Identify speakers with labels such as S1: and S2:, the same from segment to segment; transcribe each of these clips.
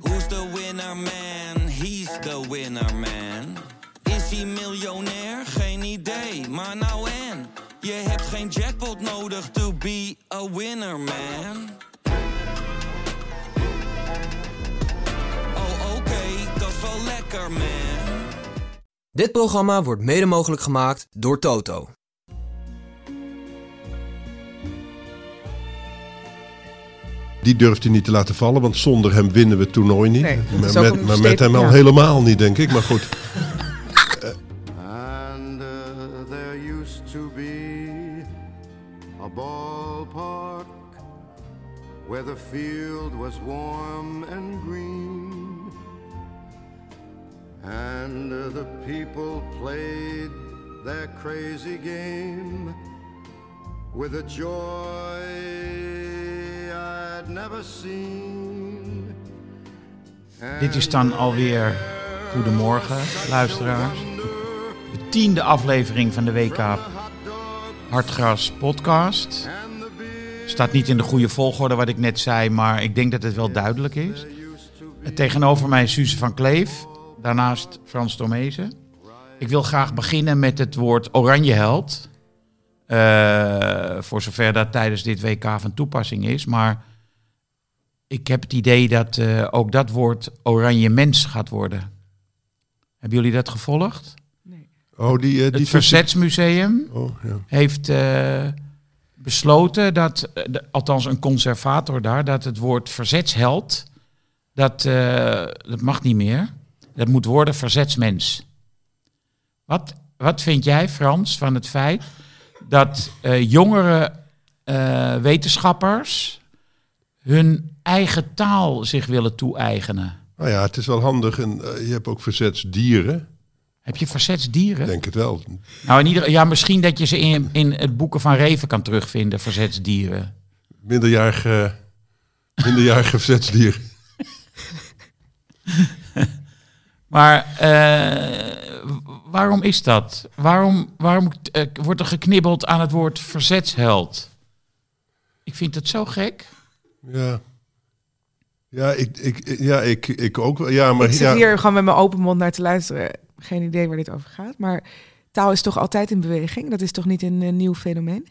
S1: Who's the winner man? He's the winner man. Is hij miljonair? Geen idee, maar nou en. Je hebt geen jackpot nodig to be a winner man. Oh oké, dat is wel lekker man.
S2: Dit programma wordt mede mogelijk gemaakt door Toto.
S3: Die durft hij niet te laten vallen, want zonder hem winnen we het toernooi niet.
S4: Nee, dat
S3: maar
S4: is ook
S3: met,
S4: een
S3: maar met
S4: statement,
S3: hem al
S4: ja.
S3: helemaal niet, denk ik. Maar goed,
S5: And uh, there used to be a ballpark where the field was warm and green. And uh, the people played their crazy game with a joy I'd never seen.
S6: Dit is dan alweer Goedemorgen, luisteraars. De tiende aflevering van de WK Hartgras podcast. Staat niet in de goede volgorde wat ik net zei, maar ik denk dat het wel duidelijk is. En Tegenover mij is Suze van Kleef, daarnaast Frans Tomezen. Ik wil graag beginnen met het woord Oranjeheld. Eh, voor zover dat tijdens dit WK van toepassing is, maar ik heb het idee dat eh, ook dat woord oranje mens gaat worden. Hebben jullie dat gevolgd?
S3: oh, die, eh, die
S6: het Verzetsmuseum
S3: Oh, ja.
S6: heeft eh, besloten dat, eh, de- althans een conservator daar, dat het woord verzetsheld, dat, eh, dat mag niet meer. Dat moet worden verzetsmens. Wat, wat vind jij, Frans, van het feit dat eh, jongere eh, wetenschappers hun eigen taal zich willen toe-eigenen?
S3: Nou ja, het is wel handig. En, eh, je hebt ook verzetsdieren,
S6: Heb je verzetsdieren?
S3: denk het wel.
S6: Nou, in ieder, ja, misschien dat je ze in, in het boeken van Reven kan terugvinden, verzetsdieren.
S3: Minderjarige, minderjarige eh, verzetsdier.
S6: Maar eh, w- waarom is dat? Waarom, waarom eh, wordt er geknibbeld aan het woord verzetsheld? Ik vind dat zo gek.
S3: Ja, ja, ik, ik, ja ik, ik ook. wel. Ja, maar
S4: ik zit
S3: ja,
S4: hier gewoon met mijn open mond naar te luisteren. Geen idee waar dit over gaat. Maar taal is toch altijd in beweging? Dat is toch niet een eh, nieuw fenomeen?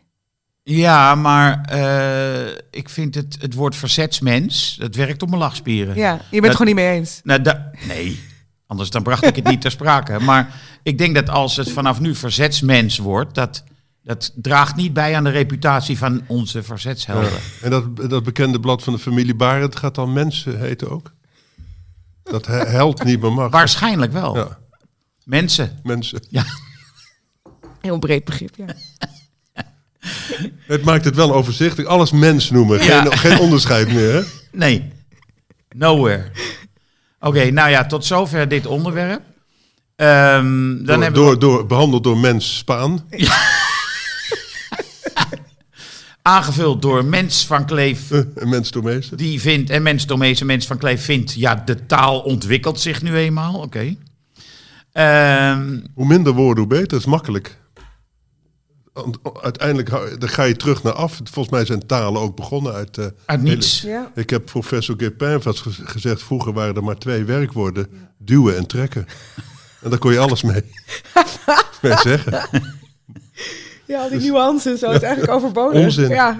S6: Ja, maar eh, ik vind het, het woord verzetsmens, dat werkt op mijn lachspieren.
S4: Ja, je bent het
S6: Dat-
S4: gewoon niet mee eens.
S6: Nou, da- nee, anders dan bracht ik het niet ter sprake. Maar ik denk dat als het vanaf nu verzetsmens wordt, dat, dat draagt niet bij aan de reputatie van onze verzetshelden.
S3: Ja. En dat, dat bekende blad van de familie Barend gaat dan mensen heten ook. Dat he- held niet meer mag.
S6: Waarschijnlijk wel.
S3: Ja,
S6: Mensen.
S3: mensen.
S4: Heel breed begrip, ja.
S3: Het maakt het wel overzichtelijk. Alles mens noemen.
S6: Ja.
S3: Geen, geen onderscheid meer. Hè?
S6: Nee. Nowhere. Oké, nou ja, tot zover dit onderwerp. Ehm, dan
S3: Door,
S6: hebben we
S3: door, door, behandeld door mens Spaan.
S6: aangevuld door Mens van Kleef.
S3: Eh, en mens Toemeester.
S6: Die vindt, en Mens Domees Mens van Kleef vindt, ja, de taal ontwikkelt zich nu eenmaal. Oké. Ehm,
S3: Hoe minder woorden, hoe beter. Dat is makkelijk. Want Uiteindelijk hou- dan ga je terug naar af. Volgens mij zijn talen ook begonnen uit... eh,
S6: uit niets.
S4: ja.
S3: Ik heb professor Gepin vast gez- gezegd, vroeger waren er maar twee werkwoorden. Duwen en trekken. En daar kon je alles mee, mee zeggen.
S4: Ja, al die nuances en zo is eigenlijk overbodig.
S3: Dus- Onzin.
S4: Ja,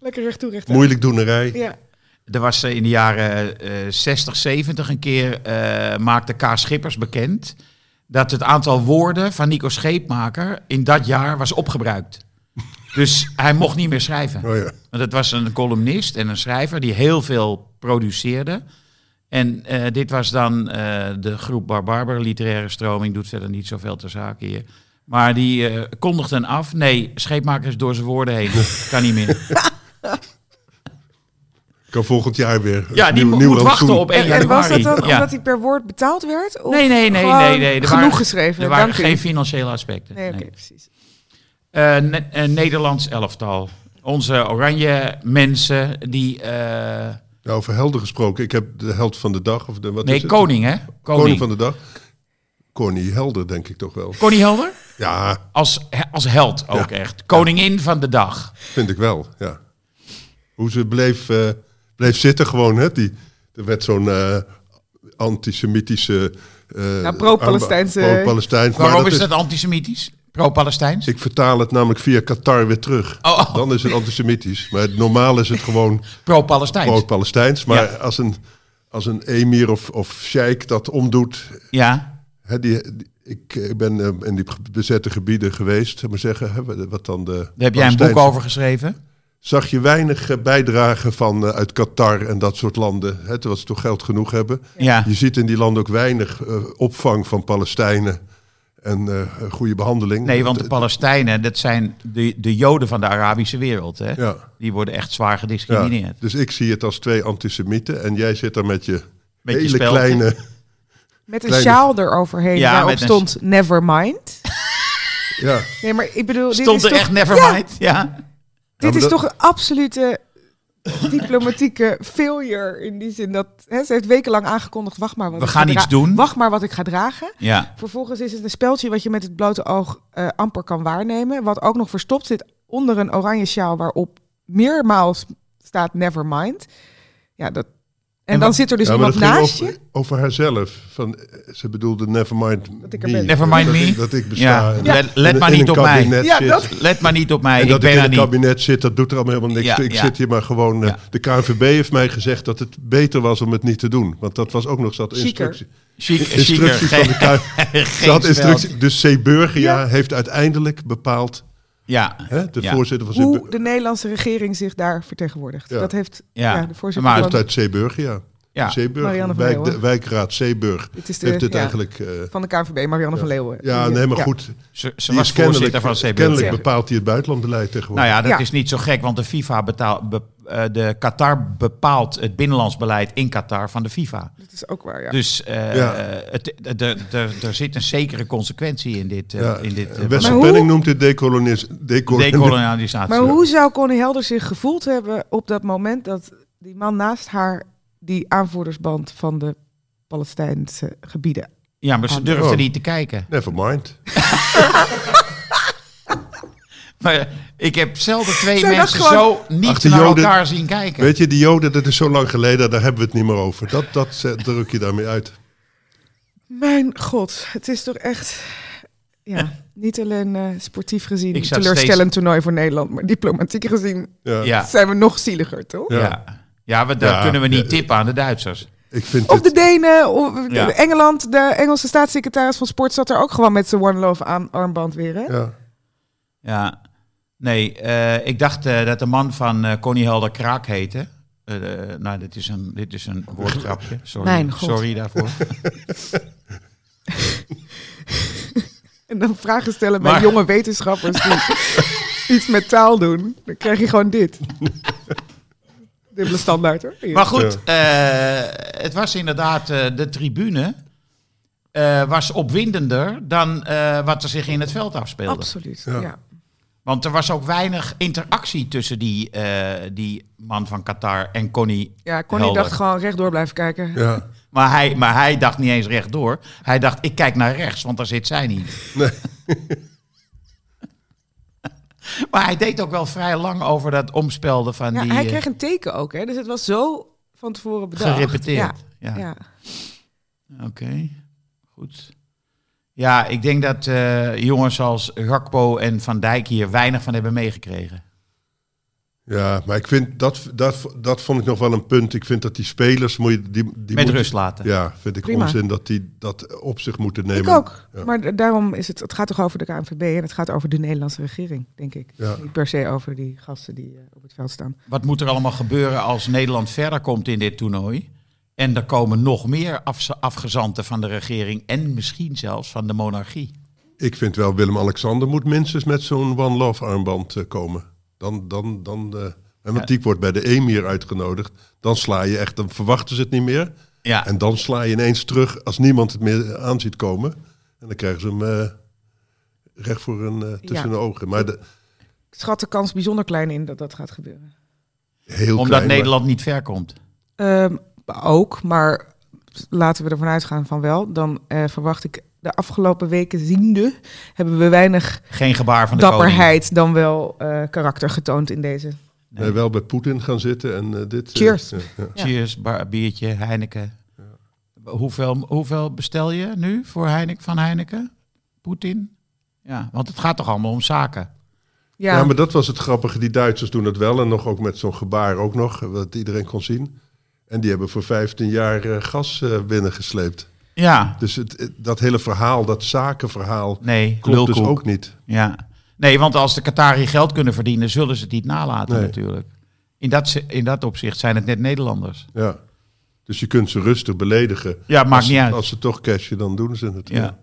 S4: lekker recht toe, recht aan.
S3: Moeilijkdoenerij.
S4: Ja.
S6: Er was eh, in de jaren eh, 60, 70 een keer, eh, maakte K. Schippers bekend... dat het aantal woorden van Nico Scheepmaker in dat jaar was opgebruikt. Dus hij mocht niet meer schrijven.
S3: Oh ja.
S6: Want het was een columnist en een schrijver die heel veel produceerde. En eh, dit was dan eh, de groep Barbarber, literaire stroming, doet verder niet zoveel ter zake hier. Maar die eh, kondigden af, nee, scheepmaker is door zijn woorden heen, kan niet meer.
S3: Kan volgend jaar weer.
S6: Ja, die
S3: nieuw-
S6: mo-
S3: nieuw
S6: moet wachten
S3: rantsoen.
S6: op 1
S4: En, en was dat
S6: januari.
S4: dan
S6: Ja.
S4: omdat hij per woord betaald werd? Of
S6: Nee, nee, nee,
S4: gewoon
S6: nee, nee. Er
S4: genoeg
S6: waren-
S4: geschreven.
S6: Er waren
S4: Dank u.
S6: geen financiële aspecten.
S4: Nee, oké,
S6: nee.
S4: precies.
S6: Eh, Ne- eh, Nederlands elftal. Onze oranje mensen die... eh,
S3: Ja, over helden gesproken. Ik heb de held van de dag. Of de, wat is
S6: nee,
S3: het?
S6: koning hè?
S3: Koning.
S6: Koning.
S3: van de dag. Corny Helder, denk ik toch wel.
S6: Connie Helder?
S3: Ja,
S6: Als, he- als held ook echt. Koningin van de dag.
S3: vind ik wel. Ja. Hoe ze bleef, eh, bleef zitten gewoon. Hè? Die, Er werd zo'n eh, antisemitische... eh,
S4: Nou, pro-Palestijnse-
S3: arm- Pro-Palestijns. maar
S6: Waarom
S3: dat
S6: is dat antisemitisch? Pro-Palestijns?
S3: Ik vertaal het namelijk via Qatar weer terug.
S6: Oh, oh.
S3: Dan is het antisemitisch. Maar normaal is het gewoon
S6: Pro-Palestijns.
S3: pro-Palestijns. Maar
S6: Ja.
S3: als, een, als een emir of, of sheik dat omdoet...
S6: ja.
S3: Hè, die, die- ik, ik ben eh, in die bezette gebieden geweest, zeg maar zeggen. Hè, wat dan de
S6: Daar heb jij een boek
S3: Palestijnse-
S6: over geschreven.
S3: zag je weinig eh, bijdrage van eh, uit Qatar en dat soort landen. Hè, terwijl ze toch geld genoeg hebben.
S6: Ja.
S3: Je ziet in die landen ook weinig eh, opvang van Palestijnen en eh, goede behandeling. eh,
S6: Nee, want de Palestijnen, dat zijn de, de Joden van de Arabische wereld. Hè?
S3: Ja,
S6: Die worden echt zwaar
S3: ja.
S6: gediscrimineerd.
S3: Dus ik zie het als twee antisemieten en jij zit daar met je
S6: Met je
S3: hele
S6: speld.
S3: kleine...
S4: Met een
S3: Kleine-
S4: sjaal eroverheen
S6: Ja,
S4: waarop
S6: met een-
S4: stond Nevermind.
S3: Ja,
S4: Nee, maar ik bedoel, dit
S6: Stond
S4: is
S6: er
S4: toch,
S6: echt Nevermind? Ja.
S3: Ja,
S4: dit
S3: maar
S4: is
S3: dat-
S4: toch een absolute diplomatieke failure. In die zin dat hè, ze heeft wekenlang aangekondigd, wacht maar wat
S6: We
S4: ik
S6: gaan
S4: ga
S6: iets
S4: dra-
S6: doen.
S4: Wacht maar wat ik ga dragen.
S6: ja.
S4: Vervolgens is het een speldje wat je met het blote oog eh, amper kan waarnemen. Wat ook nog verstopt zit onder een oranje sjaal waarop meermaals staat Nevermind. Ja, dat... En,
S6: En
S4: dan
S6: wat-
S4: zit er dus
S3: ja maar
S4: iemand
S3: dat ging
S4: naast je.
S3: over, over haarzelf. Van, eh, ze bedoelde nevermind
S4: ik er
S3: me.
S4: ben.
S6: Nevermind
S3: dat,
S6: me.
S3: Ik, dat ik besta.
S6: Ja.
S3: en-
S6: Let- let
S3: en
S6: maar
S3: Dus in
S6: niet
S3: een
S6: op mij.
S3: kabinet
S4: Ja,
S3: zit.
S4: dat-
S6: Let maar niet op mij,
S3: En
S6: ik
S3: dat
S6: ben
S3: ik in
S6: daar
S3: het
S6: niet.
S3: kabinet zit, dat doet er allemaal helemaal niks
S6: Ja,
S3: toe. Ik
S6: ja.
S3: zit hier maar gewoon... eh,
S6: Ja.
S3: De KNVB heeft mij gezegd dat het beter was om het niet te doen. Want dat was ook nog zat
S4: Chiquer.
S3: instructie.
S6: Chic,
S3: Instructie van de KNVB.
S6: KNVB.
S3: instructie. Dus Seburgia heeft uiteindelijk bepaald...
S6: Ja.
S3: Hè, de
S6: ja.
S3: voorzitter van
S4: hoe
S3: Zeeburgia.
S4: de Nederlandse regering zich daar vertegenwoordigt.
S3: Ja.
S4: Dat heeft
S6: Ja.
S4: ja. de voorzitter
S6: Maar-
S4: van,
S3: Uit Zeeburgia.
S6: Ja.
S3: Zeeburg,
S4: Marianne van
S3: wijk,
S4: Leeuwen.
S3: de, wijkraad Zeeburg.
S4: het is de,
S3: heeft het
S4: ja,
S3: eigenlijk... eh,
S4: van de KNVB, Marianne van Leeuwen.
S3: ja,
S4: Die,
S3: nee, maar
S4: ja.
S3: goed.
S6: Ze, ze
S3: Die
S6: was
S3: is
S6: voorzitter
S3: kennelijk,
S6: van CBS.
S3: kennelijk
S4: Ja.
S3: bepaalt hij het buitenlandbeleid tegenwoordig.
S6: Nou ja, dat
S4: Ja.
S6: is niet zo gek, want de FIFA betaalt... be- eh, de Qatar bepaalt het binnenlands beleid in Qatar van de FIFA.
S4: Dat is ook waar, ja.
S6: Dus eh,
S3: Ja.
S6: het, d- d- d- er zit een zekere consequentie in dit. eh,
S3: Ja,
S6: in dit eh,
S3: Wessel
S6: beleid.
S4: hoe-
S3: Penning noemt het decolonis, decolonis,
S6: dekolonisatie.
S4: maar hoe zou Connie Helder zich gevoeld hebben op dat moment dat die man naast haar die aanvoerdersband van de Palestijnse gebieden...
S6: Ja,
S4: Ah,
S6: maar ze durfde
S3: Oh.
S6: niet te kijken.
S3: Never mind.
S6: Maar Nou ik heb zelden twee
S4: Zij dacht
S6: mensen
S4: gewoon-
S6: zo niet
S3: Ach, de
S6: naar
S3: Joden-
S6: elkaar zien kijken.
S3: Weet je, die Joden, dat is zo lang geleden, daar hebben we het niet meer over. Dat, dat eh, druk je daarmee uit.
S4: Mijn god, het is toch echt... Ja, niet alleen eh, sportief gezien
S6: Ik
S4: een
S6: zat
S4: teleurstellend
S6: steeds-
S4: toernooi voor Nederland... maar diplomatiek gezien
S3: Ja.
S6: ja.
S4: zijn we nog zieliger, toch?
S3: Ja.
S6: Ja. Ja, we, daar
S3: Ja.
S6: kunnen we niet
S3: Ja.
S6: tippen aan de Duitsers.
S3: Ik vind
S4: Of de
S3: dit-
S4: Denen, of
S6: Ja.
S4: Engeland, de Engelse staatssecretaris van Sport zat er ook gewoon met zijn One Love aan, armband weer. Hè?
S3: ja.
S6: Ja. Nee, eh, ik dacht eh, dat de man van eh, Connie Helder Kraak heette. Eh, eh, nou, dit is een, dit is een woordgrapje. Sorry,
S4: Mijn god.
S6: Sorry daarvoor.
S4: En dan vragen stellen
S6: Maar-
S4: bij jonge wetenschappers die iets met taal doen. Dan krijg je gewoon dit. Dubbele standaard hoor. Hier.
S6: Maar goed, eh, het was inderdaad, eh, de tribune eh, was opwindender dan eh, wat er zich in het veld afspeelde.
S4: Absoluut, ja.
S3: Ja.
S6: Want er was ook weinig interactie tussen die, eh, die man van Qatar en Connie.
S4: Ja, Connie
S6: Helder.
S4: dacht gewoon rechtdoor blijven kijken.
S3: ja.
S6: Maar hij, maar hij dacht niet eens rechtdoor. Hij dacht, ik kijk naar rechts, want daar zit zij niet.
S3: Nee.
S6: maar hij deed ook wel vrij lang over dat omspelden van
S4: Ja,
S6: die...
S4: hij
S6: eh,
S4: kreeg een teken ook, hè? dus het was zo van tevoren bedacht.
S6: Gerepeteerd, ja.
S4: Ja. Ja.
S6: Oké, goed. Ja, ik denk dat eh, jongens als Gakpo en Van Dijk hier weinig van hebben meegekregen.
S3: ja, maar ik vind dat, dat, dat vond ik nog wel een punt. Ik vind dat die spelers moet je, die, die
S6: Met
S3: moet-
S6: rust laten.
S3: Ja, vind ik
S4: Prima.
S3: onzin dat die dat op zich moeten nemen.
S4: Ik ook.
S3: Ja.
S4: Maar da- daarom is het, het gaat toch over de KNVB en het gaat over de Nederlandse regering, denk ik.
S3: Ja.
S4: Niet per se over die gasten die eh, op het veld staan.
S6: Wat moet er allemaal gebeuren als Nederland verder komt in dit toernooi? En er komen nog meer afz- afgezanten van de regering en misschien zelfs van de monarchie.
S3: Ik vind wel Willem-Alexander moet minstens met zo'n One Love armband eh, komen. Dan, dan, dan, eh, en want die wordt bij de Emir uitgenodigd. Dan sla je echt, dan verwachten ze het niet meer.
S6: Ja,
S3: En dan sla je ineens terug als niemand het meer aan ziet komen. En dan krijgen ze hem eh, recht voor hun eh, tussen
S4: Ja.
S3: de ogen. Maar de,
S4: Ik schat de kans bijzonder klein in dat dat gaat gebeuren.
S3: heel
S6: omdat
S3: klein, maar-
S6: Nederland niet ver komt.
S4: Ehm, ook, maar laten we ervan uitgaan van wel. Dan eh, verwacht ik de afgelopen weken ziende... hebben we weinig
S6: Geen gebaar van de koning.
S4: dapperheid dan wel eh, karakter getoond in deze
S3: Nee, wel bij Poetin gaan zitten en eh, dit. eh,
S4: Cheers.
S3: ja, ja.
S4: Ja.
S6: Cheers, bar, biertje, Heineken. Hoeveel, hoeveel bestel je nu voor Heineken, van Heineken? Poetin? Ja, want het gaat toch allemaal om zaken?
S4: Ja,
S3: Ja, maar dat was het grappige. Die Duitsers doen het wel en nog ook met zo'n gebaar ook nog, wat iedereen kon zien. En die hebben voor 15 jaar eh, gas eh, binnengesleept.
S6: Ja,
S3: Dus het, het- dat hele verhaal, dat zakenverhaal,
S6: nee,
S3: klopt dus
S6: lulkoek.
S3: ook niet.
S6: Ja. Nee, want als de Qatari geld kunnen verdienen, zullen ze het niet nalaten
S3: Nee.
S6: natuurlijk. In dat, zi- in dat opzicht zijn het net Nederlanders.
S3: Ja. Dus je kunt ze rustig beledigen.
S6: Ja, maakt
S3: als,
S6: niet uit.
S3: Als ze toch cashen, dan doen ze het.
S6: Ja.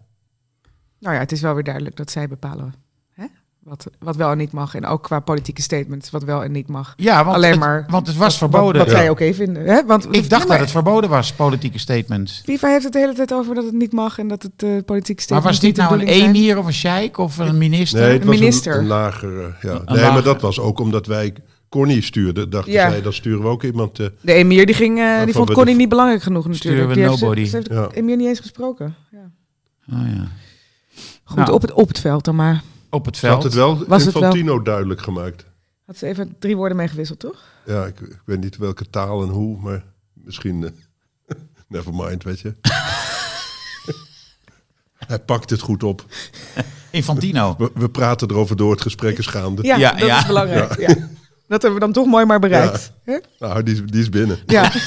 S4: nou ja, het is wel weer duidelijk dat zij bepalen hè? Wat, wat wel en niet mag. En ook qua politieke statements, wat wel en niet mag.
S6: Ja, want,
S4: Alleen
S6: het,
S4: maar
S6: want het was
S4: Wat,
S6: verboden.
S4: wat
S3: Ja.
S4: zij oké vinden. Hè? Want,
S6: Ik dacht
S4: Ja,
S6: dat
S4: maar
S6: het verboden was, politieke statements.
S4: FIFA heeft het de hele tijd over dat het niet mag en dat het eh politieke
S6: Maar
S4: statements
S6: was dit
S4: niet
S6: nou
S4: de
S6: een
S4: bedoeling zijn.
S6: emir of een sheik of een minister?
S3: Nee, het was
S4: minister.
S3: Een, een lagere. Ja. nee,
S6: lagere.
S3: maar dat was ook omdat wij Connie stuurden. Dachten
S4: Ja.
S3: zij, dan sturen we ook iemand. eh,
S4: De emir die ging, eh,
S3: Waarvan
S4: die vond
S3: we
S4: Connie
S3: de-
S4: niet belangrijk genoeg natuurlijk.
S6: we
S4: Die heeft-
S6: nobody.
S4: Ze heeft de
S3: Ja.
S4: emir niet eens gesproken. Ja.
S6: Oh, ja.
S4: Goed,
S6: Nou.
S4: op, het, op het veld dan maar.
S6: Op het
S3: ze had
S6: veld.
S3: het wel
S4: Was het wel?
S3: Infantino duidelijk gemaakt.
S4: Had ze even drie woorden meegewisseld, toch?
S3: Ja, ik, ik weet niet welke taal en hoe, maar misschien. eh, never mind, weet je. Hij pakt het goed op.
S6: Infantino.
S3: We, we praten erover door, het gesprek is gaande.
S4: Ja,
S6: Ja,
S4: dat
S6: ja.
S4: is belangrijk. Ja. Dat hebben we dan toch mooi maar bereikt. hè?
S3: Nou, die, is- die is binnen.
S4: ja.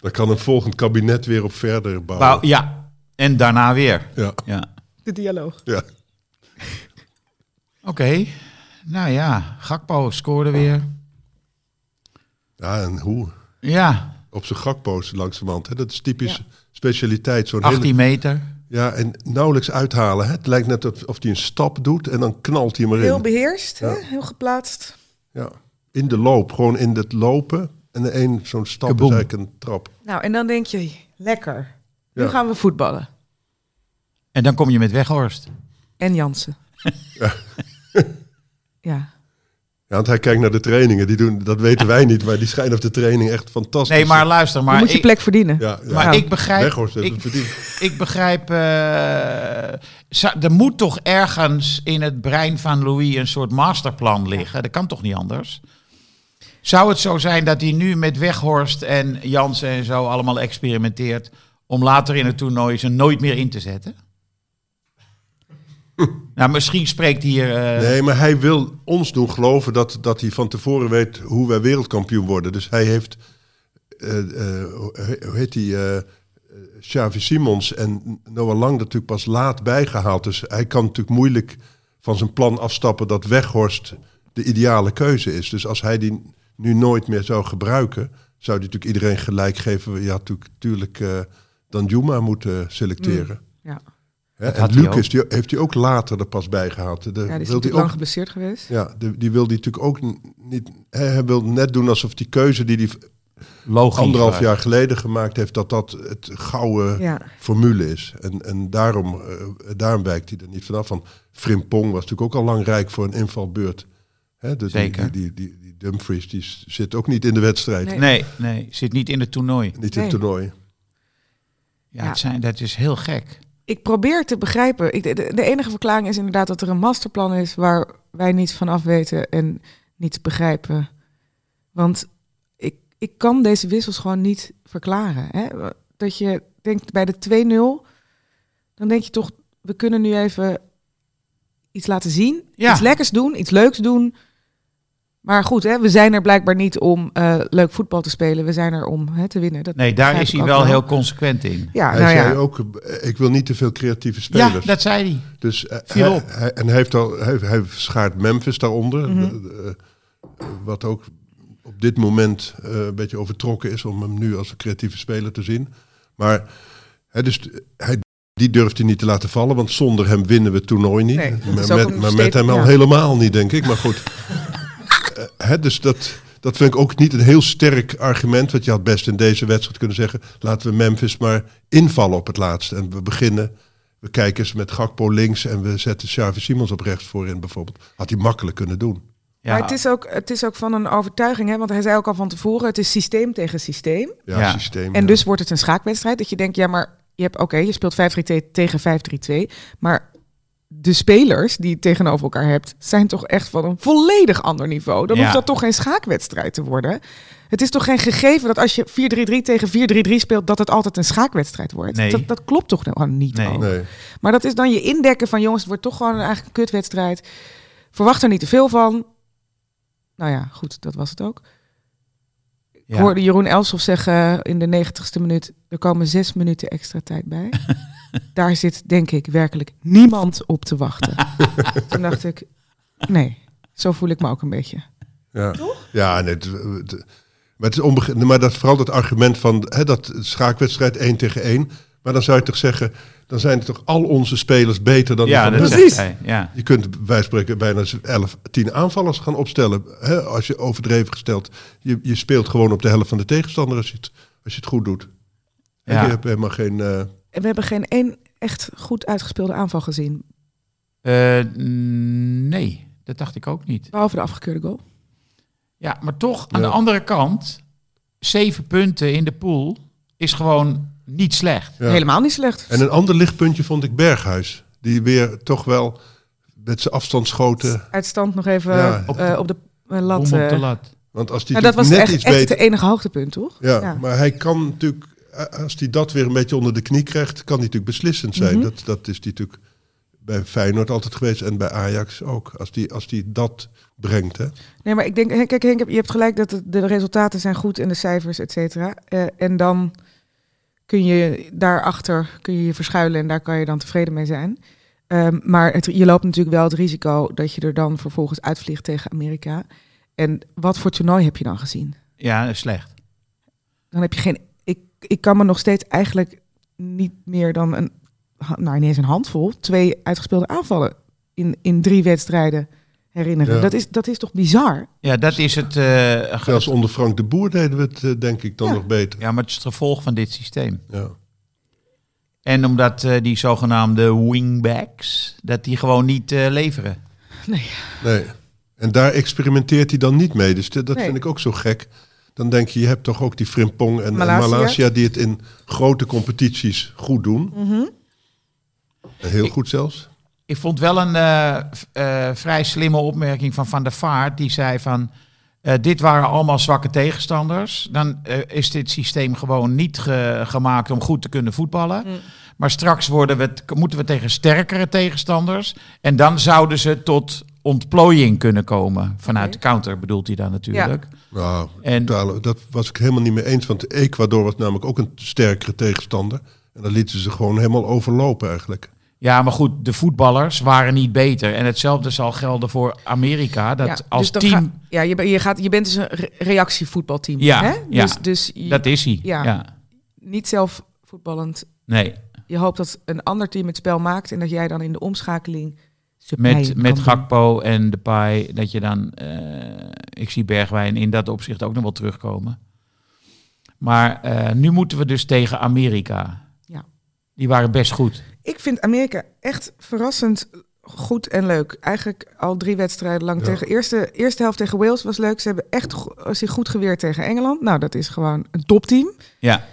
S3: Dan kan een volgend kabinet weer op verder bouwen.
S6: Wou- ja, en daarna weer.
S3: Ja,
S6: Ja.
S4: de dialoog.
S3: ja.
S6: Oké, nou ja, Gakpo scoorde weer.
S3: ja, en hoe?
S6: Ja,
S3: Op zijn gakpost langzamerhand. Hè? Dat is typisch
S4: Ja.
S3: specialiteit. Zo'n hele
S6: 18 meter.
S3: Ja, en nauwelijks uithalen. Hè? Het lijkt net of of hij een stap doet en dan knalt hij maar in.
S4: Heel beheerst,
S3: Ja.
S4: hè? heel geplaatst.
S3: ja. In de loop, gewoon in het lopen. En de een zo'n stap
S6: Kaboom.
S3: is eigenlijk een trap.
S4: Nou, en dan denk je, lekker. Nu
S3: Ja.
S4: gaan we voetballen.
S6: En dan kom je met Weghorst.
S4: En Jansen.
S3: Ja.
S4: ja.
S3: Ja, want hij kijkt naar de trainingen. Die doen, dat weten wij niet, maar die schijnen op de training echt fantastisch.
S6: Nee, maar luister,
S4: Je
S6: maar
S4: moet je
S6: ik-
S4: plek verdienen.
S3: Ja, ja.
S6: Maar
S4: Ja.
S6: ik begrijp.
S3: Weghorst heeft
S6: ik,
S3: het verdiend.
S6: ik begrijp. eh, za- er moet toch ergens in het brein van Louis een soort masterplan liggen. Dat kan toch niet anders? Zou het zo zijn dat hij nu met Weghorst en Jansen en zo allemaal experimenteert. om later in het toernooi ze nooit meer in te zetten? nou, misschien spreekt hier. eh,
S3: Nee, maar hij wil ons doen geloven dat, dat hij van tevoren weet hoe wij wereldkampioen worden. Dus hij heeft, eh, eh, hoe hoe heet die, eh, eh, Xavi Simons en Noah Lang natuurlijk pas laat bijgehaald. Dus hij kan natuurlijk moeilijk van zijn plan afstappen dat Weghorst de ideale keuze is. Dus als hij die nu nooit meer zou gebruiken, zou hij natuurlijk iedereen gelijk geven. Ja, natuurlijk, natuurlijk eh, dan Juma moeten selecteren.
S4: Ja.
S3: Hè,
S6: Dat
S3: en
S6: had hij
S3: Lucas die, heeft hij ook later er pas bijgehaald. De,
S4: Ja, die is
S3: wil hij
S4: natuurlijk
S3: ook
S4: lang geblesseerd geweest.
S3: ja, de- die wil die natuurlijk ook n- niet. hè, Hij wil net doen alsof die keuze die hij
S6: logisch.
S3: anderhalf
S6: maar-
S3: jaar geleden gemaakt heeft, dat dat het gouden
S4: Ja.
S3: formule is. En, en daarom, eh, daarom wijkt hij er niet vanaf. Van Frimpong was natuurlijk ook al lang rijk voor een invalbeurt. Hè, dus die-
S6: Zeker.
S3: Die, die, die, die Dumfries die s- zit ook niet in de wedstrijd,
S4: Nee.
S6: Nee, nee, zit niet in het toernooi.
S3: niet in het
S4: Nee.
S3: toernooi.
S6: Ja,
S4: Ja.
S6: Het zijn, dat is heel gek.
S4: Ik probeer te begrijpen. Ik, de, de enige verklaring is inderdaad dat er een masterplan is waar wij niets van af weten en niets begrijpen. Want ik, ik kan deze wissels gewoon niet verklaren. Hè? Dat je denkt bij de 2-0, dan denk je toch, we kunnen nu even iets laten zien.
S6: Ja.
S4: Iets lekkers doen, iets leuks doen. Maar goed, hè, we zijn er blijkbaar niet om eh, leuk voetbal te spelen. We zijn er om hè, te winnen. Dat
S6: Nee, daar
S4: begrijp
S6: is
S4: ik
S6: hij
S4: ook
S6: wel heel consequent in.
S4: Ja,
S3: hij
S4: nou
S3: zei
S4: ja.
S3: ook, eh, ik wil niet te veel creatieve
S6: Ja,
S3: spelers.
S6: dat zei hij.
S3: Dus eh,
S6: Viel
S3: hij-
S6: op.
S3: hij- en hij, heeft al, hij, hij schaart Memphis daaronder.
S6: Mhm.
S3: eh, eh, wat ook op dit moment eh, een beetje overtrokken is om hem nu als een creatieve speler te zien. Maar hè, dus, t- hij, die durft hij niet te laten vallen, want zonder hem winnen we het toernooi niet.
S4: Nee, dat
S3: maar,
S4: is ook
S3: met,
S4: een
S3: maar met hem al
S4: statement, ja.
S3: helemaal niet, denk ik. Maar goed. Eh, hè, dus dat, dat vind ik ook niet een heel sterk argument. Want je had best in deze wedstrijd kunnen zeggen: laten we Memphis maar invallen op het laatst. En we beginnen. We kijken eens met Gakpo links en we zetten Xavi Simons op rechts voorin bijvoorbeeld. Had hij makkelijk kunnen doen.
S6: Ja.
S4: Maar het is, ook, het is ook van een overtuiging, hè? want hij zei ook al van tevoren, het is systeem tegen systeem.
S3: Ja,
S6: Ja.
S3: systeem. eh,
S4: En
S3: ja.
S4: dus wordt het een schaakwedstrijd, dat je denkt, ja, maar je hebt oké, je speelt 5-3-2 tegen 5-3-2, maar de spelers die je tegenover elkaar hebt, zijn toch echt van een volledig ander niveau. Dan
S6: Ja.
S4: hoeft dat toch geen schaakwedstrijd te worden. Het is toch geen gegeven dat als je 4-3-3 tegen 4-3-3 speelt, dat het altijd een schaakwedstrijd wordt.
S6: Nee.
S4: Dat, dat klopt toch gewoon niet.
S6: Nee.
S4: ook?
S3: Nee.
S4: Maar dat is dan je indekken van jongens, het wordt toch gewoon een- eigenlijk een kutwedstrijd. Verwacht er niet te veel van. Nou ja, goed, dat was het ook.
S6: Ja.
S4: Ik hoorde Jeroen Elshoff zeggen in de negentigste minuut... er komen zes minuten extra tijd bij. Daar zit, denk ik, werkelijk niemand op te wachten. Toen dacht ik, nee, zo voel ik me ook een beetje.
S3: Ja, ja nee, het, het- maar, het is onbegre- maar dat, vooral dat argument van hè, dat schaakwedstrijd 1 tegen 1. Maar dan zou je toch zeggen, dan zijn toch al onze spelers beter dan
S6: ja,
S3: die
S6: dat
S3: van
S6: zegt hij. Ja.
S3: Je kunt bij wijze van spreken bijna 11, 10 aanvallers gaan opstellen. Hè, als je overdreven gesteld, je, je speelt gewoon op de helft van de tegenstander als je het, als je het goed doet. En
S6: Ja.
S3: je hebt helemaal geen... eh,
S4: En we hebben geen één echt goed uitgespeelde aanval gezien.
S6: Eh, nee, dat dacht ik ook niet.
S4: Behalve de afgekeurde goal.
S6: Ja, maar toch, aan
S3: Ja.
S6: de andere kant, zeven punten in de pool is gewoon niet slecht.
S3: Ja.
S4: Helemaal niet slecht.
S3: en een ander lichtpuntje vond ik Berghuis. Die weer toch wel met zijn afstandsschoten.
S4: Uit stand nog even
S3: Ja.
S4: eh, op, de, eh, lat.
S6: Bom op
S4: eh,
S6: de lat.
S3: Want als die
S4: Nou, dat was
S3: natuurlijk net
S4: echt,
S3: iets
S4: echt
S3: beter...
S4: het enige hoogtepunt, toch?
S3: Ja,
S4: Ja.
S3: maar hij kan natuurlijk, eh, als hij dat weer een beetje onder de knie krijgt, kan hij natuurlijk beslissend zijn.
S4: Mhm.
S3: dat, dat is hij natuurlijk bij Feyenoord altijd geweest en bij Ajax ook. Als die, als die dat brengt, hè.
S4: Nee, maar ik denk, Henk- kijk Henk, je hebt gelijk dat het- de resultaten zijn goed en de cijfers, et cetera. Eh, en dan kun je daarachter kun je, je verschuilen en daar kan je dan tevreden mee zijn. Ehm, maar het, je loopt natuurlijk wel het risico dat je er dan vervolgens uitvliegt tegen Amerika. En wat voor toernooi heb je dan gezien?
S6: Ja, dat is slecht.
S4: Dan heb je geen. Ik, ik kan me nog steeds eigenlijk niet meer dan een. ha- Nou, ineens een handvol. Twee uitgespeelde aanvallen in, in drie wedstrijden herinneren.
S3: Ja.
S4: Dat, is, dat is toch bizar?
S6: Ja, dat is het. eh, ge-
S3: Zelfs onder Frank de Boer deden we het, eh, denk ik, dan
S4: Ja.
S3: nog beter.
S6: ja, maar het is het gevolg van dit systeem.
S3: Ja.
S6: En omdat eh, die zogenaamde wingbacks, dat die gewoon niet eh, leveren.
S3: Nee. En daar experimenteert hij dan niet mee. Dus dat dat
S4: Nee.
S3: vind ik ook zo gek. Dan denk je, je hebt toch ook die Frimpong en Malasia,
S4: Malasia.
S3: en Malasia die het in grote competities goed doen.
S4: Mhm.
S3: Heel goed zelfs.
S6: Ik vond wel een eh, v- eh, vrij slimme opmerking van Van der Vaart. Die zei van, eh, dit waren allemaal zwakke tegenstanders. Dan eh, is dit systeem gewoon niet ge- gemaakt om goed te kunnen voetballen.
S4: Mm.
S6: Maar straks worden we t- moeten we tegen sterkere tegenstanders. En dan zouden ze tot ontplooiing kunnen komen. Vanuit
S4: Oké.
S6: de counter bedoelt hij dan natuurlijk.
S3: Nou,
S6: En-
S3: totale- dat was ik helemaal niet mee eens. Want Ecuador was namelijk ook een sterkere tegenstander. En dan lieten ze gewoon helemaal overlopen eigenlijk.
S6: Ja, maar goed, de voetballers waren niet beter. En hetzelfde zal gelden voor Amerika. Dat
S4: dus
S6: als
S4: dan
S6: team,
S4: ga- ja, je, ben- je, gaat, je bent dus een re- reactievoetbalteam.
S6: Ja,
S4: hè?
S6: ja.
S4: Dus, dus je-
S6: dat is hij.
S4: Ja.
S6: ja.
S4: niet zelf voetballend.
S6: Nee,
S4: Je hoopt dat een ander team het spel maakt en dat jij dan in de omschakeling. supplijen
S6: Met,
S4: kan
S6: met
S4: doen.
S6: Gakpo en Depay, dat je dan... eh, ik zie Bergwijn in dat opzicht ook nog wel terugkomen. Maar eh, nu moeten we dus tegen Amerika.
S4: Ja.
S6: Die waren best goed.
S4: Ik vind Amerika echt verrassend goed en leuk. Eigenlijk al drie wedstrijden lang
S3: Ja.
S4: tegen. Eerste, eerste helft tegen Wales was leuk. Ze hebben echt go- zich goed geweerd tegen Engeland. Nou, dat is gewoon een topteam.
S6: Ja.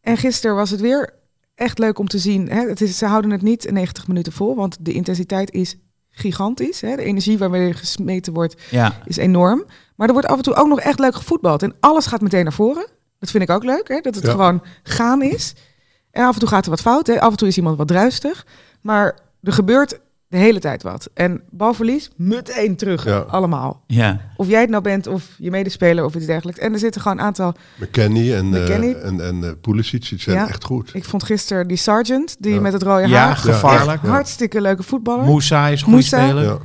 S4: En gisteren was het weer echt leuk om te zien. Hè? Het is, ze houden het niet 90 minuten vol, want de intensiteit is gigantisch. Hè? De energie waarmee er gesmeten wordt
S6: Ja,
S4: is enorm. Maar er wordt af en toe ook nog echt leuk gevoetbald. En alles gaat meteen naar voren. Dat vind ik ook leuk, hè? dat het
S3: Ja.
S4: gewoon gaan is. En af en toe gaat er wat fout. Hè? Af en toe is iemand wat druistig. Maar er gebeurt de hele tijd wat. En balverlies, meteen terug.
S3: Ja.
S4: Allemaal.
S6: ja.
S4: Of jij het nou bent, of je medespeler, of iets dergelijks. En er zitten gewoon een aantal...
S3: McKennie en, eh,
S4: McKennie.
S3: en, en eh, Pulisic die zijn
S4: Ja.
S3: echt goed.
S4: Ik vond gisteren die sergeant, die
S3: Ja.
S4: met het rode
S6: ja
S4: haar...
S6: gevaarlijk.
S3: Ja.
S4: Hartstikke leuke voetballer.
S6: Moussa is een goede
S4: Moussa.
S6: speler.
S3: Ja.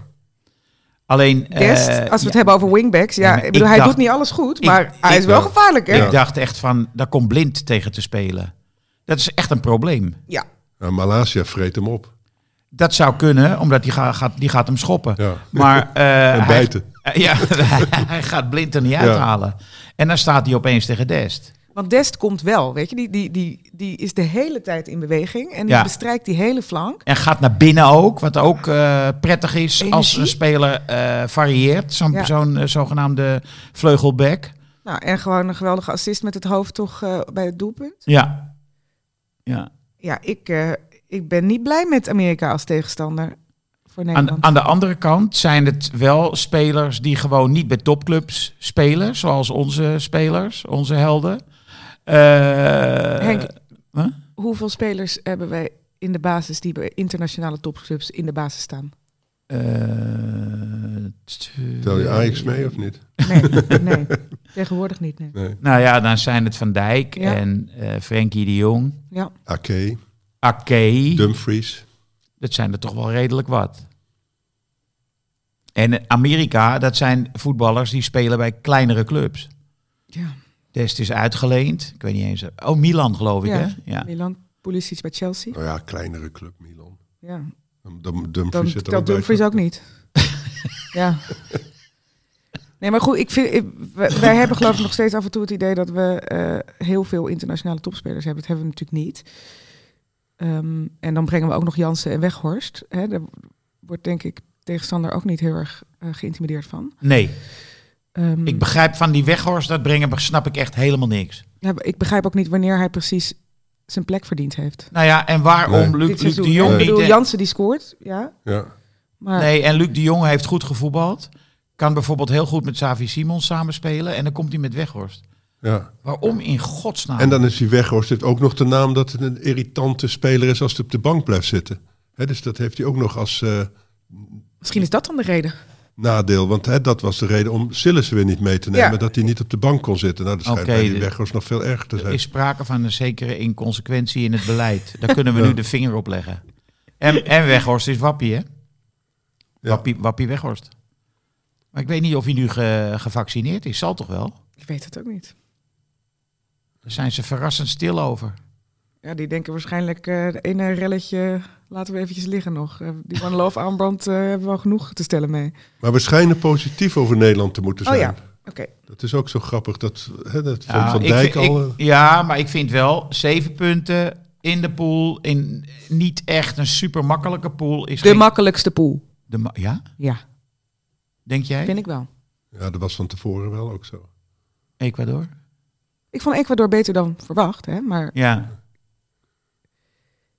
S6: Alleen... eh,
S4: Guest, als we het
S6: ja,
S4: hebben over wingbacks. Ja,
S6: Ja, maar
S4: ik bedoel,
S6: ik
S4: hij
S6: dacht-
S4: doet niet alles goed,
S6: ik-
S4: maar hij
S6: ik-
S4: is wel
S3: Ja.
S4: gevaarlijk, hè?
S6: Ik
S3: Ja.
S6: dacht echt van, daar komt blind tegen te spelen. Dat is echt een probleem.
S4: ja.
S3: Nou, Malasia vreet hem op.
S6: Dat zou kunnen, omdat die, ga- gaat, die gaat hem schoppen.
S3: Ja.
S6: Maar eh,
S3: en
S6: hij,
S3: bijten.
S6: Eh, Ja, hij- hij gaat blind er niet uithalen. En dan staat hij opeens tegen Dest.
S4: Want Dest komt wel, weet je. Die, die, die, die is de hele tijd in beweging en die
S6: Ja.
S4: bestrijkt die hele flank.
S6: En gaat naar binnen ook, wat ook eh, prettig is als
S4: Energie.
S6: een speler eh, varieert. Zo'n
S4: Ja.
S6: zo'n, eh, zogenaamde vleugelback.
S4: Nou, en gewoon een geweldige assist met het hoofd toch eh, bij het doelpunt.
S6: Ja. ja.
S4: Ja, ik, eh, ik ben niet blij met Amerika als tegenstander. voor
S6: Aan,
S4: Nederland.
S6: aan de andere kant zijn het wel spelers die gewoon niet bij topclubs spelen, zoals onze spelers, onze helden. Eh,
S4: Henk,
S6: huh?
S4: Hoeveel spelers hebben wij in de basis die bij internationale topclubs in de basis staan?
S6: eh, twee-
S3: Tel je Ajax mee of niet?
S4: Nee, nee. Tegenwoordig niet, nee.
S3: Nee.
S6: Nou ja, dan zijn het Van Dijk
S4: Ja.
S6: en eh Frenkie de Jong.
S4: Ja.
S3: Ake,
S6: Ake,
S3: Dumfries.
S6: dat zijn er toch wel redelijk wat. En Amerika, dat zijn voetballers die spelen bij kleinere clubs.
S4: ja.
S6: Dest is uitgeleend. Ik weet niet eens. Oh, Milan geloof ik,
S4: Ja.
S6: hè? Ja.
S4: Milan, Pulisic bij Chelsea.
S3: Nou ja, kleinere club Milan.
S4: Ja.
S3: Dum- Dum- Dumfries
S4: Dan
S3: zit er
S4: telt
S3: bij.
S4: Dumfries ook niet. ja. Nee, maar goed, ik vind, ik- wij, wij hebben geloof ik nog steeds af en toe het idee dat we eh, heel veel internationale topspelers hebben. Dat hebben we natuurlijk niet. Ehm, en dan brengen we ook nog Jansen en Weghorst. Hè, daar wordt denk ik tegenstander ook niet heel erg eh, geïntimideerd van.
S6: Nee,
S4: Ehm,
S6: ik begrijp van die Weghorst dat brengen, maar snap ik echt helemaal niks.
S4: ja, ik begrijp ook niet wanneer hij precies zijn plek verdiend heeft.
S6: Nou ja, en waarom
S3: Nee.
S6: Luc,
S4: Dit
S6: Luc
S4: seizoen,
S6: de
S4: hè?
S6: Jong
S4: Ik
S6: niet...
S4: bedoel,
S6: hè?
S4: Jansen die scoort, ja.
S3: Ja.
S4: Maar
S6: Nee, en Luc de Jong heeft goed gevoetbald. Kan bijvoorbeeld heel goed met Xavi Simons samenspelen. En dan komt hij met Weghorst.
S3: ja.
S6: Waarom in godsnaam?
S3: En dan is hij Weghorst heeft ook nog de naam dat het een irritante speler is als hij op de bank blijft zitten. Hè, dus dat heeft hij ook nog als eh,
S4: misschien is dat dan de reden.
S3: nadeel. Want hè, dat was de reden om Sillis weer niet mee te nemen.
S4: Ja.
S3: Dat hij niet op de bank kon zitten. Nou, dat schijnt
S6: Oké,
S3: bij die
S6: de-
S3: Weghorst nog veel erger te
S6: Er
S3: zijn.
S6: is sprake van een zekere inconsequentie in het beleid. Daar kunnen we nu de vinger op leggen. En, en Weghorst is wappie, hè?
S3: Ja.
S6: Wappie, wappie Weghorst. Maar ik weet niet of hij nu ge- gevaccineerd is. Zal toch wel?
S4: Ik weet het ook niet.
S6: Daar zijn ze verrassend stil over.
S4: Ja, die denken waarschijnlijk eh de ene relletje laten we eventjes liggen nog. Eh, die One Love aanbrand eh, hebben we al genoeg te stellen mee.
S3: Maar we schijnen positief over Nederland te moeten
S4: Oh
S3: zijn.
S4: ja, oké.
S3: Dat is ook zo grappig. Dat, hè, dat van
S6: Ja,
S3: Van
S6: ik
S3: Dijk
S6: vind-
S3: al...
S6: ik-
S3: eh,
S6: ja, maar ik vind wel zeven punten in de pool. In niet echt een super makkelijke pool. Is
S4: De
S6: geen-
S4: makkelijkste pool.
S6: de ma- ja,
S4: Ja,
S6: denk jij?
S4: vind ik wel.
S3: eh, Ja, dat was van tevoren wel ook zo.
S6: Ecuador?
S4: Ik vond Ecuador beter dan verwacht, hè? maar
S6: Ja.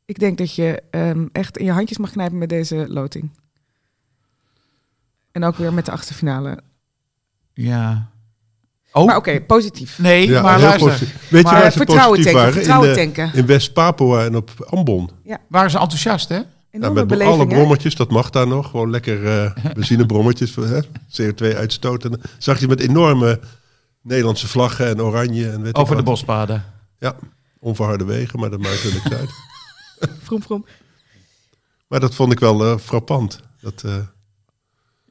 S4: ik denk dat je ehm, echt in je handjes mag knijpen met deze loting. En ook weer met de achtste finale.
S6: ja. Oh,
S4: Maar oké, positief.
S6: nee,
S3: Ja,
S6: maar
S3: heel
S6: luister.
S3: positief. Weet
S6: Maar
S3: je waar ze
S4: vertrouwen
S3: positief
S4: tanken,
S3: waren?
S4: vertrouwen
S3: in, de-
S4: tanken.
S3: in West-Papua en op Ambon.
S6: Waren ze enthousiast, hè?
S3: Ja,
S4: Enorme
S3: met
S4: beleving,
S3: alle
S4: hè?
S3: brommetjes, dat mag daar nog. Gewoon lekker eh benzinebrommetjes, voor, hè, CO2 uitstoot. En dan zag je met enorme Nederlandse vlaggen en oranje. En weet
S6: Over de
S3: ik wat.
S6: bospaden.
S3: Ja, onverharde wegen, maar dat maakt er niks uit.
S4: Vroom, vroom.
S3: Maar dat vond ik wel eh, frappant. Dat, eh,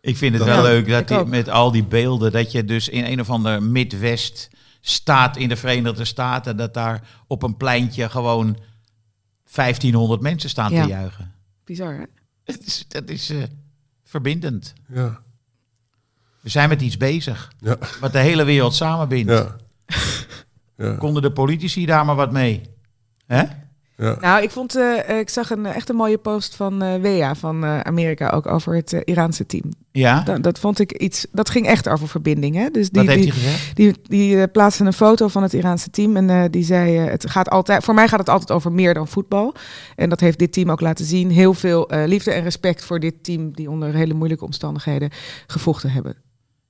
S6: Ik vind het
S3: Dat-
S6: wel
S4: Ja,
S6: leuk dat
S4: ik
S6: die-
S4: ook.
S6: met al die beelden, dat je dus in een of ander Midwest staat in de Verenigde Staten, dat daar op een pleintje gewoon 1500 mensen staan
S4: Ja.
S6: te juichen.
S4: Bizar, hè?
S6: Dat is, dat is eh, verbindend.
S3: ja,
S6: We zijn met iets bezig,
S3: ja,
S6: wat de hele wereld samenbindt.
S3: ja. Ja,
S6: Konden de politici daar maar wat mee? Hè?
S3: ja.
S4: Nou, ik, vond, eh, eh, ik zag een, eh, echt een mooie post van eh Wea van eh, Amerika ook over het eh, Iraanse team.
S6: Ja,
S4: Dat, dat vond ik iets. Dat ging echt over verbinding. Hè? Dus die,
S6: wat heeft
S4: die,
S6: hij gezegd?
S4: die, die eh, plaatste een foto van het Iraanse team. En eh, die zei: eh, het gaat altijd, Voor mij gaat het altijd over meer dan voetbal. En dat heeft dit team ook laten zien. Heel veel eh, liefde en respect voor dit team. die onder hele moeilijke omstandigheden gevochten hebben.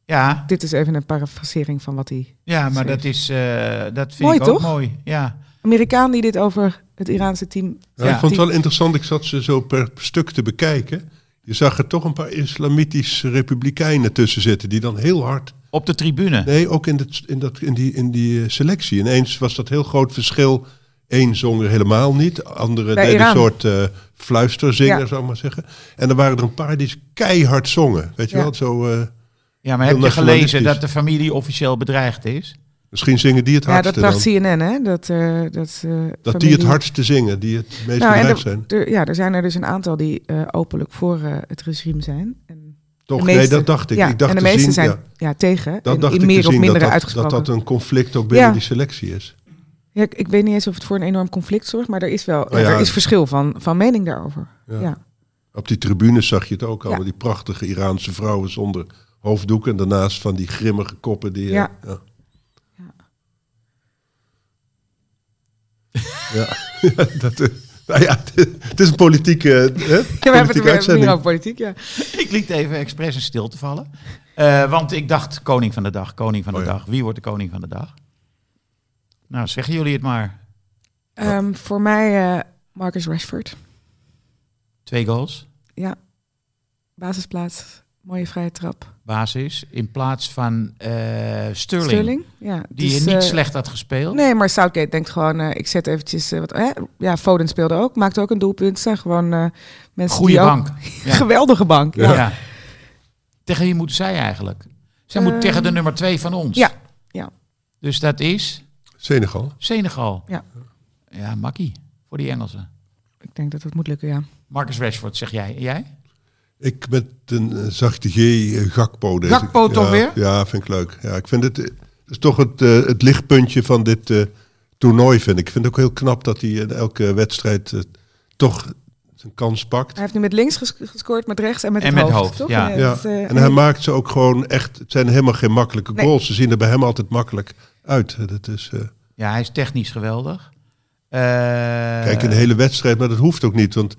S6: Ja,
S4: Dit is even een parafrasering van wat die.
S6: ja maar
S4: Zeker.
S6: dat, is, eh, dat vind
S4: Mooi,
S6: ik ook
S4: toch?
S6: mooi. Ja.
S4: Amerikaan die dit over het Iraanse team.
S3: Ja, ik
S6: Ja.
S3: vond het wel interessant. Ik zat ze zo per stuk te bekijken. Je zag er toch een paar islamitische republikeinen tussen zitten. Die dan heel hard
S6: Op de tribune.
S3: Nee, ook in, dat, in, dat, in, die, in die eh, selectie. Ineens was dat heel groot verschil. Eén zong er helemaal niet. Anderen
S4: Bij
S3: deden een
S4: Iran.
S3: soort eh, fluisterzinger,
S4: Ja.
S3: zou ik maar zeggen. En er waren er een paar die keihard zongen. Weet je
S4: Ja.
S3: wel, zo, eh,
S6: Ja, maar
S3: Heel
S6: heb je gelezen
S3: nationalistisch.
S6: dat de familie officieel bedreigd is?
S3: misschien zingen die het
S4: Ja,
S3: hardste
S4: dat bracht
S3: dan.
S4: CNN, hè? Dat, eh, dat, eh,
S3: Dat die het
S4: familie-
S3: hardste zingen, die het meest
S4: Nou, en
S3: bereid
S4: de-
S3: zijn.
S4: Er, ja, er zijn er dus een aantal die eh, openlijk voor eh, het regime zijn. En
S3: Toch?
S4: de
S3: Nee,
S4: meeste-
S3: dat dacht ik.
S4: ja,
S3: ik dacht
S4: en de
S3: te
S4: meeste
S3: zien,
S4: zijn ja.
S3: ja,
S4: tegen.
S3: dat
S4: in,
S3: dacht
S4: in
S3: ik
S4: meer
S3: te
S4: of
S3: zien, dat,
S4: mindere
S3: dat, dat
S4: uitgesproken.
S3: dat een conflict ook binnen
S4: Ja.
S3: die selectie is.
S4: Ja, ik, ik weet niet eens of het voor een enorm conflict zorgt, maar er is wel
S3: Nou
S4: ja,
S3: ja.
S4: er is verschil van, van mening daarover.
S3: Ja.
S4: Ja.
S3: Op die tribunes zag je het ook al.
S4: Ja.
S3: met Die prachtige Iraanse vrouwen zonder hoofddoek. En daarnaast van die grimmige koppen. Die, eh,
S4: Ja.
S3: Ja.
S4: Ja.
S3: Ja. Ja, dat, eh, Nou ja, het is een politieke, hè, politieke
S4: Ja, we hebben het weer-
S3: uitzending.
S4: meer over politiek, ja.
S6: Ik liet even expres in stilte vallen. Eh, want ik dacht, koning van de dag, koning van de
S3: Oh ja.
S6: dag. Wie wordt de koning van de dag? Nou, zeggen jullie het maar.
S4: Ehm, voor mij eh, Marcus Rashford.
S6: Twee goals,
S4: Ja. Basisplaats. Mooie vrije trap.
S6: basis. In plaats van eh, Sterling,
S4: Ja,
S6: Die
S4: dus,
S6: je niet
S4: eh,
S6: slecht had gespeeld.
S4: Nee, maar Southgate denkt gewoon, eh, ik zet eventjes... eh, wat, hè? Ja, Foden speelde ook, maakte ook een doelpunt. Het zijn gewoon eh mensen
S6: Goede
S4: die ook-
S6: bank. Ja.
S4: Geweldige bank, ja.
S6: Ja. Tegen wie moeten zij eigenlijk? Zij moet
S4: Eh,
S6: tegen de nummer twee van ons.
S4: ja, ja.
S6: Dus dat is
S3: Senegal.
S6: Senegal.
S4: Ja.
S6: Ja, makkie voor die Engelsen.
S4: Ik denk dat het moet lukken, ja.
S6: Marcus Rashford, zeg jij. En jij?
S3: Ik met een eh, zachte G eh, Gakpo. deze-
S6: Gakpo
S3: ja,
S6: toch weer?
S3: Ja, vind ik leuk. Ja, ik vind het, eh, het is toch het, eh, het lichtpuntje van dit eh, toernooi, vind ik. Ik vind het ook heel knap dat hij in elke wedstrijd eh, toch zijn kans pakt.
S4: Hij heeft nu met links ges- gescoord, met rechts en met
S6: En
S4: het
S6: met
S4: hoofd,
S6: hoofd,
S4: toch?
S6: ja.
S3: Ja.
S4: dat, eh,
S3: en hij maakt ze ook gewoon echt... Het zijn helemaal geen makkelijke
S4: Nee.
S3: goals. Ze zien er bij hem altijd makkelijk uit. Dat is, eh,
S6: Ja, hij is technisch geweldig. Eh,
S3: Kijk, een hele wedstrijd, maar dat hoeft ook niet. Want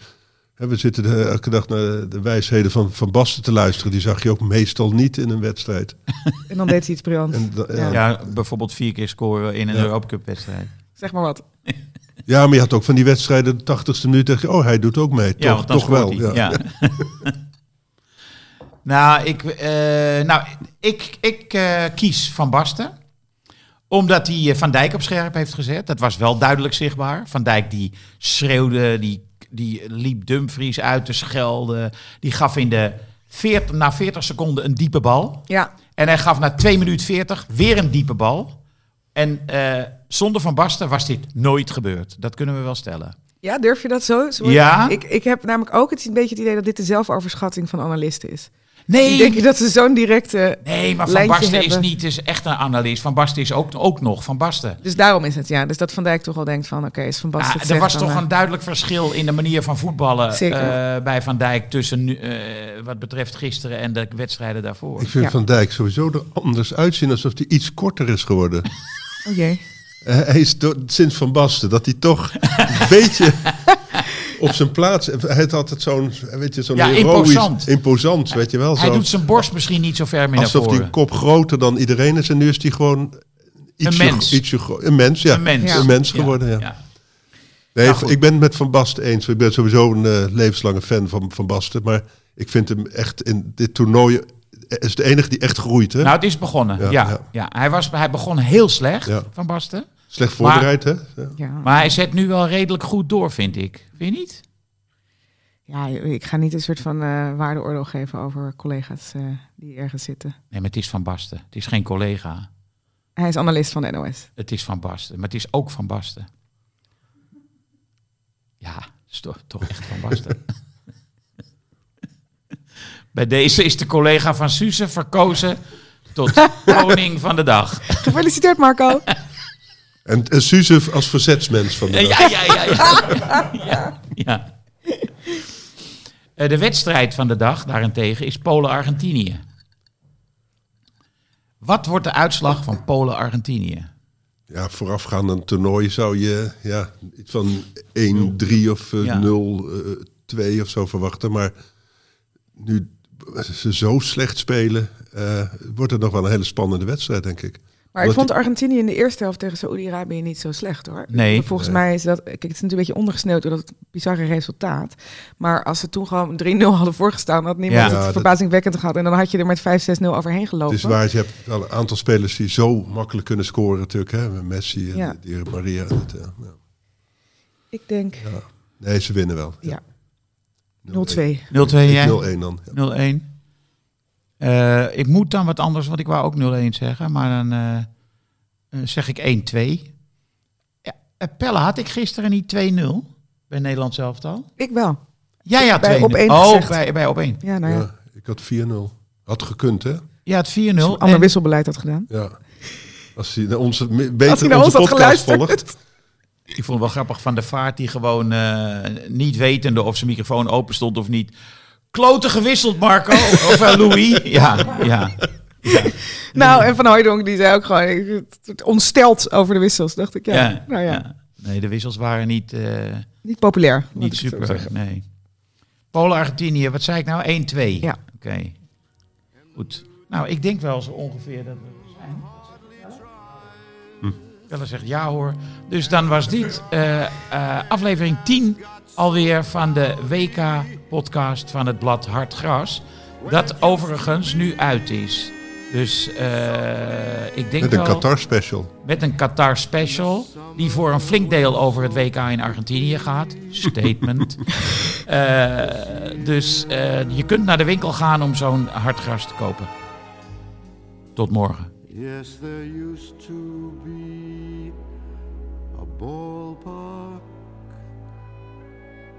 S3: hè, we zitten de- elke dag naar de wijsheden van Van Basten te luisteren. Die zag je ook meestal niet in een wedstrijd.
S4: en dan deed hij iets briljants.
S3: En, da-
S4: Ja.
S3: ja.
S6: Ja, bijvoorbeeld vier keer scoren in een
S3: Ja.
S6: Europa Cup wedstrijd.
S4: Zeg maar wat.
S3: Ja, maar je had ook van die wedstrijden, de 80ste minuut, dacht je, oh, hij doet ook mee.
S6: ja,
S3: toch
S6: want dan
S3: toch wel.
S6: scoort hij.
S3: Ja.
S6: Ja. nou, ik, eh, nou, ik, ik eh, kies Van Basten. Omdat hij eh, Van Dijk op scherp heeft gezet. Dat was wel duidelijk zichtbaar. Van Dijk die schreeuwde, die, die liep Dumfries uit te schelden. Die gaf in de 40, na 40 seconden een diepe bal.
S4: Ja,
S6: En hij gaf na 2 minuten 40 weer een diepe bal. En eh, zonder Van Basten was dit nooit gebeurd. Dat kunnen we wel stellen.
S4: ja durf je dat zo? Zo-
S6: Ja.
S4: Ik, ik heb namelijk ook het, een beetje het idee dat dit de zelfoverschatting van analisten is.
S6: Nee,
S4: Ik denk dat ze zo'n directe...
S6: nee maar Van
S4: lijntje
S6: Basten is
S4: hebben.
S6: niet is echt een analist. Van Basten is ook, ook nog Van Basten.
S4: Dus daarom is het, ja. Dus dat Van Dijk toch al denkt van, oké, is Van Basten
S6: Ah,
S4: het
S6: er
S4: zegt,
S6: was
S4: dan,
S6: toch
S4: eh,
S6: een duidelijk verschil in de manier van voetballen
S4: Zeker.
S6: eh, bij Van Dijk tussen nu, eh, wat betreft gisteren en de wedstrijden daarvoor.
S3: Ik vind
S4: Ja.
S3: Van Dijk sowieso er anders uitzien, alsof hij iets korter is geworden.
S4: Oh jee.
S3: Eh, hij is do- sinds Van Basten, dat hij toch een beetje op zijn plaats... Hij had altijd zo'n, weet je, zo'n
S6: Ja,
S3: heroïs...
S6: imposant.
S3: imposant, weet je wel.
S6: Hij
S3: zo.
S6: doet zijn borst misschien niet zo ver meer naar
S3: Alsof die
S6: voren.
S3: een kop groter dan iedereen is. En nu is die gewoon ietsje,
S6: Een mens.
S3: ietsje gro- een mens, ja.
S6: Een mens.
S4: Ja.
S3: Een mens geworden, ja. Nee,
S6: Nou, goed.
S3: ik ben het met Van Basten eens. Ik ben sowieso een eh, levenslange fan van Van Basten. Maar ik vind hem echt in dit toernooi... eh, is de enige die echt groeit, hè?
S6: Nou, het is begonnen. Ja,
S3: Ja,
S6: ja,
S3: ja.
S6: Hij, was, hij begon heel slecht,
S3: Ja.
S6: Van Basten.
S3: Slecht voorbereid, hè? Ja.
S4: Ja.
S6: Maar hij zet nu wel redelijk goed door, vind ik. Vind je niet?
S4: ja, ik ga niet een soort van eh, waardeoordeel geven over collega's eh, die ergens zitten.
S6: Nee, maar het is Van Basten. Het is geen collega.
S4: Hij is analist van de NOS.
S6: Het is Van Basten. Maar het is ook Van Basten. Ja, het is toch, toch echt Van Basten. Bij deze is de collega van Suze verkozen tot koning van de dag.
S4: Gefeliciteerd, Marco.
S3: En, en Suze als verzetsmens van de dag.
S6: Ja, ja, ja. ja. ja, ja. Eh, de wedstrijd van de dag daarentegen is Polen-Argentinië. Wat wordt de uitslag van Polen-Argentinië?
S3: Ja, voorafgaand aan een toernooi zou je ja, iets van 1, 3 of eh,
S6: Ja.
S3: 0, eh, 2 of zo verwachten. Maar nu ze zo slecht spelen, eh, wordt het nog wel een hele spannende wedstrijd, denk ik.
S4: Maar ik
S3: Wat-
S4: vond Argentinië in de eerste helft tegen Saoedi-Arabië niet zo slecht hoor.
S6: Nee.
S4: Volgens mij is dat. Kijk, het is natuurlijk een beetje ondergesneeuwd door dat bizarre resultaat. Maar als ze toen gewoon 3-0 hadden voorgestaan, had niemand
S6: Ja,
S4: het
S3: dat-
S4: verbazingwekkend gehad. En dan had je er met 5-6-0 overheen
S3: Het
S4: gelopen.
S3: is waar, je hebt wel een aantal spelers die zo makkelijk kunnen scoren natuurlijk. Hè? Met Messi en
S4: Ja.
S3: Di Maria. en het, eh, ja.
S4: Ik denk.
S3: Nee, ze winnen wel.
S4: Ja. 0-2.
S6: 0-2 jij?
S3: 0-1 dan. ja.
S6: 0-1. Eh, ik moet dan wat anders, want ik wou ook 0-1 zeggen. Maar dan eh, eh, zeg ik 1-2. Ja, eh, Pelle, had ik gisteren niet 2-0 bij Nederland zelf al?
S4: Ik wel.
S6: Jij had 2-0.
S4: Bij op één
S6: oh,
S4: gezegd.
S6: bij, bij op 1.
S4: Ja, nou ja.
S3: Ja, ik had 4-0. Had gekund, hè?
S6: Ja, het 4-0.
S4: Als je een
S6: En-
S4: ander wisselbeleid had gedaan.
S3: Ja. Als hij naar onze, me- beter
S4: Als hij naar ons
S3: onze
S4: had
S3: podcast
S4: geluisterd.
S3: volgt.
S6: Ik vond het wel grappig van de vaart die gewoon eh, niet wetende of zijn microfoon open stond of niet. Kloten gewisseld, Marco. of eh, Louis. Ja, ja.
S4: Nou, en Van Hooijdonk die zei ook gewoon ik- het- het ontsteld over de wissels. Dacht ik, ja.
S6: ja,
S4: nou ja.
S6: ja. Nee, de wissels waren niet. eh,
S4: Niet populair. laat ik
S6: Niet
S4: het zo
S6: super,
S4: zeggen.
S6: nee. Polen-Argentinië, wat zei ik nou? 1-2.
S4: Ja.
S6: Oké, goed. Nou, ik denk wel zo ongeveer dat we er zijn.
S3: Hm.
S6: Bella zegt ja hoor. Dus dan was dit eh, eh, aflevering 10 alweer van de WK-podcast van het blad Hard Gras. Dat overigens nu uit is. Dus eh, ik denk
S3: Met een
S6: wel
S3: Qatar-special.
S6: met een Qatar special. Die voor een flink deel over het WK in Argentinië gaat. Statement. Eh, dus eh, je kunt naar de winkel gaan om zo'n hartgras te kopen. Tot morgen.
S5: Yes, there used to be a ballpark.